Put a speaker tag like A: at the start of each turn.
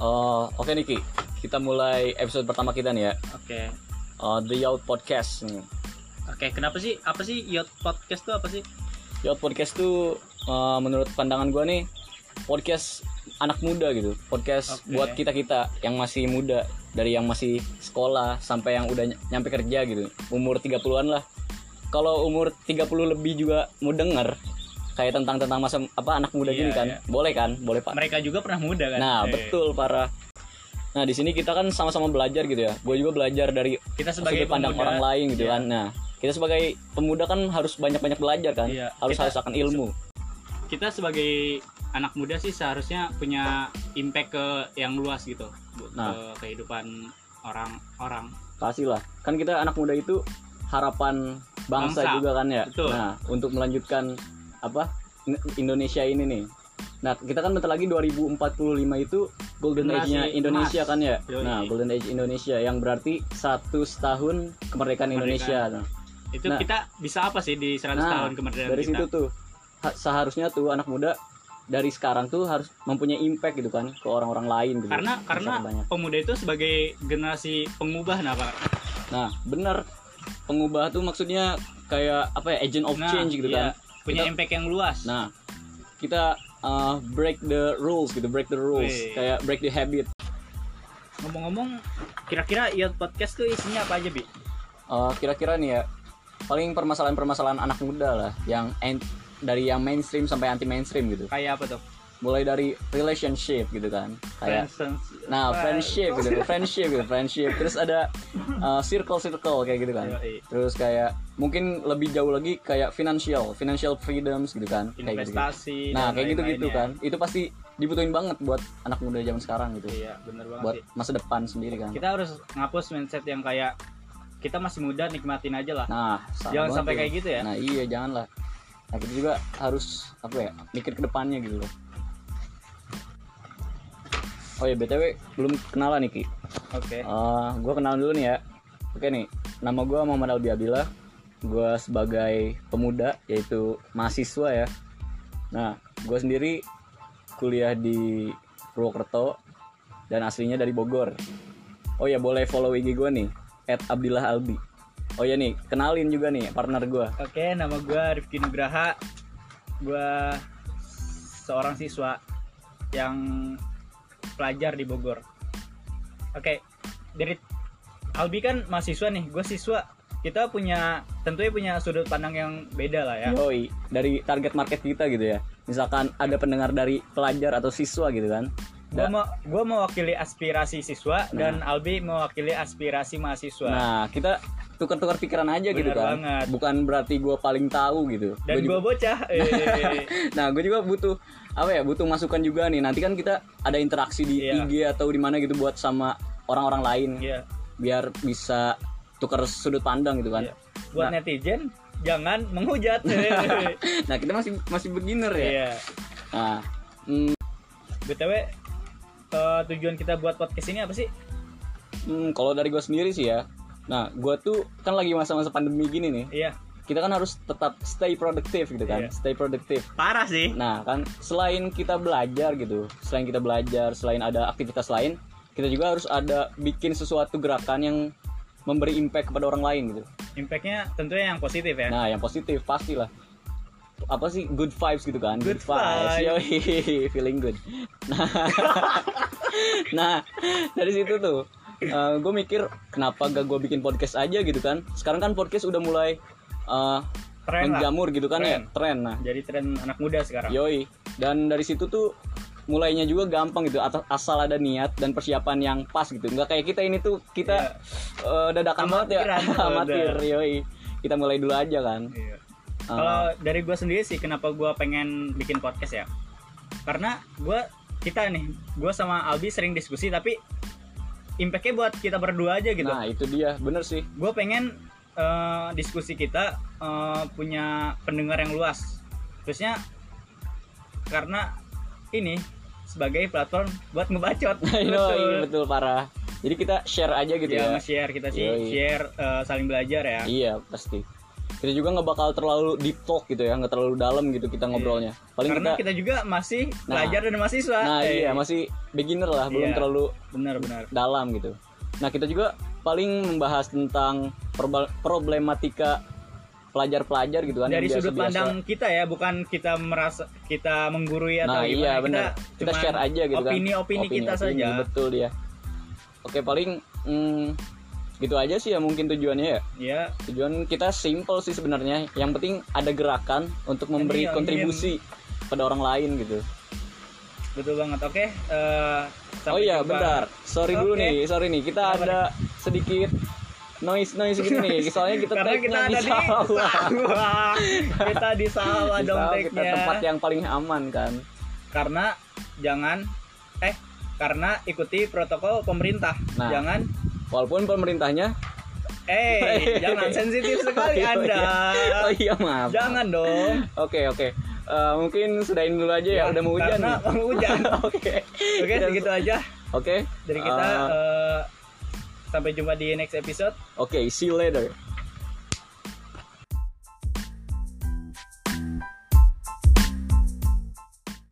A: Oh, oke Niki, kita mulai episode pertama kita nih ya.
B: Oke.
A: Oh, The Yacht Podcast. nih.
B: Oke, kenapa sih? Apa sih yacht podcast tuh apa sih?
A: Yacht Podcast tuh eh, menurut pandangan gua nih podcast anak muda gitu. Podcast
B: Oke.
A: buat kita-kita yang masih muda dari yang masih sekolah sampai yang udah ny- nyampe kerja gitu. Umur 30-an lah. Kalau umur 30 lebih juga mau denger kayak tentang tentang masa apa anak muda
B: Iya,
A: gini kan.
B: iya.
A: Boleh kan? Boleh Pak.
B: Mereka juga pernah muda kan?
A: Nah,
B: Eh,
A: betul parah. Nah, di sini kita kan sama-sama belajar gitu ya. Gue juga belajar dari
B: Kita sebagai
A: sudut pandang
B: pemuda,
A: orang lain gitu
B: iya.
A: kan. Nah, kita sebagai pemuda kan harus banyak-banyak belajar kan.
B: Iya.
A: Harus
B: Kita-
A: harus akan ilmu.
B: Kita sebagai anak muda sih seharusnya punya impact ke yang luas gitu. Bu-
A: Nah.
B: Ke kehidupan orang-orang.
A: Pastilah. Kan kita anak muda itu harapan bangsa,
B: Bangsa.
A: juga kan ya.
B: Betul.
A: Nah, untuk melanjutkan apa? N- Indonesia ini nih. Nah, kita kan bentar lagi 2045 itu golden
B: Generasi
A: age-nya Indonesia
B: emas.
A: kan ya.
B: Yoi.
A: Nah, golden age Indonesia yang berarti 100 tahun kemerdekaan Indonesia. Nah,
B: Itu
A: Nah.
B: kita bisa apa sih di 100
A: Nah,
B: tahun kemerdekaan
A: dari
B: kita?
A: situ tuh ha- seharusnya tuh anak muda dari sekarang tuh harus mempunyai impact gitu kan ke orang-orang lain gitu.
B: Karena karena
A: Masyarakat banyak.
B: pemuda itu sebagai generasi pengubah nah, Pak.
A: nah bener pengubah tuh maksudnya kayak apa ya agent of
B: Nah,
A: change gitu
B: iya,
A: kan
B: Punya
A: Kita-
B: impact yang luas.
A: nah kita uh, break the rules gitu break the rules
B: Wih.
A: kayak break the habit
B: Ngomong-ngomong, kira-kira yacht podcast tuh isinya apa aja, Bi?
A: Uh, kira-kira nih ya paling permasalahan-permasalahan anak muda lah yang en- dari yang mainstream sampai anti mainstream gitu
B: Kayak apa tuh?
A: mulai dari relationship gitu kan kayak
B: Friends-
A: Nah, friendship gitu, friendship gitu, friendship. Terus ada uh, circle circle kayak gitu kan.
B: Yoi.
A: Terus kayak mungkin lebih jauh lagi kayak financial, financial freedoms gitu kan. Kayak gitu.
B: investasi
A: Nah,
B: dan
A: kayak gitu-gitu
B: lain-lainnya.
A: kan. Itu pasti dibutuhin banget buat anak muda zaman sekarang gitu.
B: iya bener banget
A: Buat
B: sih.
A: masa depan sendiri kan.
B: kita harus ngapus mindset yang kayak kita masih muda nikmatin aja lah
A: Nah, salah
B: jangan
A: banget
B: sampai
A: tuh.
B: kayak gitu ya
A: Nah, iya jangan lah. Nah, kita juga harus apa ya? Mikir ke depannya gitu loh. Oh ya, BTW belum kenalan nih Ki.
B: oke
A: gue kenal dulu nih ya. Oke nih, nama gue Muhammad Albi Abdillah. Gue sebagai pemuda, yaitu mahasiswa ya. Nah, gue sendiri kuliah di Purwokerto dan aslinya dari Bogor. Oh ya, boleh follow IG gue nih, at Abdillah Albi. Oh ya nih, kenalin juga nih partner gue.
B: oke nama gue Rifki Nugraha gue seorang siswa yang pelajar di Bogor oke dari Albi kan mahasiswa nih gue siswa kita punya tentunya punya sudut pandang yang beda lah ya
A: Yoi, dari target market kita gitu ya. Misalkan ada pendengar dari pelajar atau siswa gitu kan.
B: Gue mau gua mewakili aspirasi siswa dan Albi mewakili aspirasi mahasiswa.
A: Nah, kita tukar-tukar pikiran aja gitu
B: Bener
A: kan.
B: banget.
A: Bukan berarti gue paling tahu gitu.
B: dan
A: Gua
B: gue bocah. Eh,
A: juga- nah, gue juga butuh apa ya? Butuh masukan juga nih. Nanti kan kita ada interaksi di
B: Iya.
A: IG atau di mana gitu buat sama orang-orang lain
B: Iya.
A: biar bisa tukar sudut pandang gitu kan.
B: Iya. Buat netizen jangan menghujat.
A: Nah, kita masih masih beginner ya.
B: Iya.
A: Nah,
B: BTW eh, tujuan kita buat podcast ini apa sih?
A: hmm, kalau dari gue sendiri sih ya. Nah, gue tuh kan lagi masa-masa pandemi gini nih.
B: Iya.
A: Kita kan harus tetap stay produktif gitu kan.
B: Iya.
A: Stay produktif.
B: Parah sih.
A: Nah kan selain kita belajar gitu, selain kita belajar, selain ada aktivitas lain, kita juga harus ada bikin sesuatu gerakan yang memberi impact kepada orang lain gitu.
B: Impactnya tentunya yang positif ya.
A: Nah yang positif pastilah. Apa sih good vibes gitu kan?
B: Good vibes.
A: Yoi, feeling good. Nah, nah dari situ tuh gue mikir kenapa gak gue bikin podcast aja gitu kan? Sekarang kan podcast udah mulai eh,
B: Tren lah.
A: menjamur gitu kan ya,
B: Tren.
A: tren. Nah
B: Jadi tren anak muda sekarang.
A: Yoi. Dan dari situ tuh mulainya juga gampang gitu atas- asal ada niat dan persiapan yang pas gitu nggak kayak kita ini tuh kita eh,
B: Iya.
A: dadakan banget ya
B: Amatiran.
A: amatir yoi kita mulai dulu aja kan
B: Iya.
A: Ah.
B: Kalau dari gue sendiri sih, kenapa gue pengen bikin podcast ya? Karena gue kita nih, gue sama Albi sering diskusi, tapi impactnya buat kita berdua aja gitu.
A: nah itu dia bener sih
B: Gue pengen eh, diskusi kita eh, punya pendengar yang luas. Terusnya karena ini sebagai platform buat ngebacot.
A: yoi betul parah jadi kita share aja gitu
B: Ya,
A: ya
B: nge-share kita sih,
A: Yoi.
B: share eh, saling belajar ya.
A: iya pasti Kita juga nggak bakal terlalu deep talk gitu ya, nggak terlalu dalam gitu kita ngobrolnya. Paling
B: Iya. Karena
A: kita,
B: kita... juga masih
A: Nah.
B: pelajar dan mahasiswa.
A: nah
B: Eh,
A: iya masih beginner lah, belum
B: Iya.
A: terlalu
B: Benar, benar.
A: dalam gitu. Nah kita juga paling membahas tentang perba- problematika pelajar-pelajar gitu kan
B: Dari
A: yang
B: sudut
A: biasa-biasa.
B: pandang kita ya, bukan kita merasa kita menggurui atau
A: Nah
B: gimana.
A: iya
B: Kita
A: benar. Kita,
B: cuman
A: share aja gitu kan.
B: Opini-opini kita
A: Opini-opini,
B: saja.
A: Betul dia. Oke paling mm, gitu aja sih ya mungkin tujuannya ya.
B: Ya,
A: Tujuan kita simple sih sebenarnya. Yang penting ada gerakan untuk memberi
B: Iya, iya.
A: kontribusi pada orang lain gitu.
B: betul banget. Oke. eh,
A: oh
B: sampai
A: iya
B: jumpa.
A: bentar. Sorry dulu
B: Oke.
A: nih. Sorry nih. Kita
B: Kenapa
A: ada sedikit noise noise gitu nih. Soalnya kita
B: Karena
A: take-nya
B: kita ada di
A: sawah.
B: sawah. kita di sawah
A: Di
B: dong
A: sawah kita
B: take-nya.
A: tempat yang paling aman kan.
B: Karena jangan eh karena ikuti protokol pemerintah.
A: Nah.
B: Jangan
A: Walaupun pemerintahnya
B: eh jangan sensitif
A: Oh
B: sekali
A: iya.
B: Anda.
A: Oh iya maaf.
B: Jangan dong.
A: Oke oke. Eh, mungkin sudahin dulu aja ya, udah mau hujan.
B: Iya, Karena
A: nih.
B: mau hujan.
A: Oke.
B: Oke,
A: Kita-
B: segitu aja
A: Oke.
B: dari kita.
A: Eh,
B: eh, sampai jumpa di next episode.
A: Oke, see you later.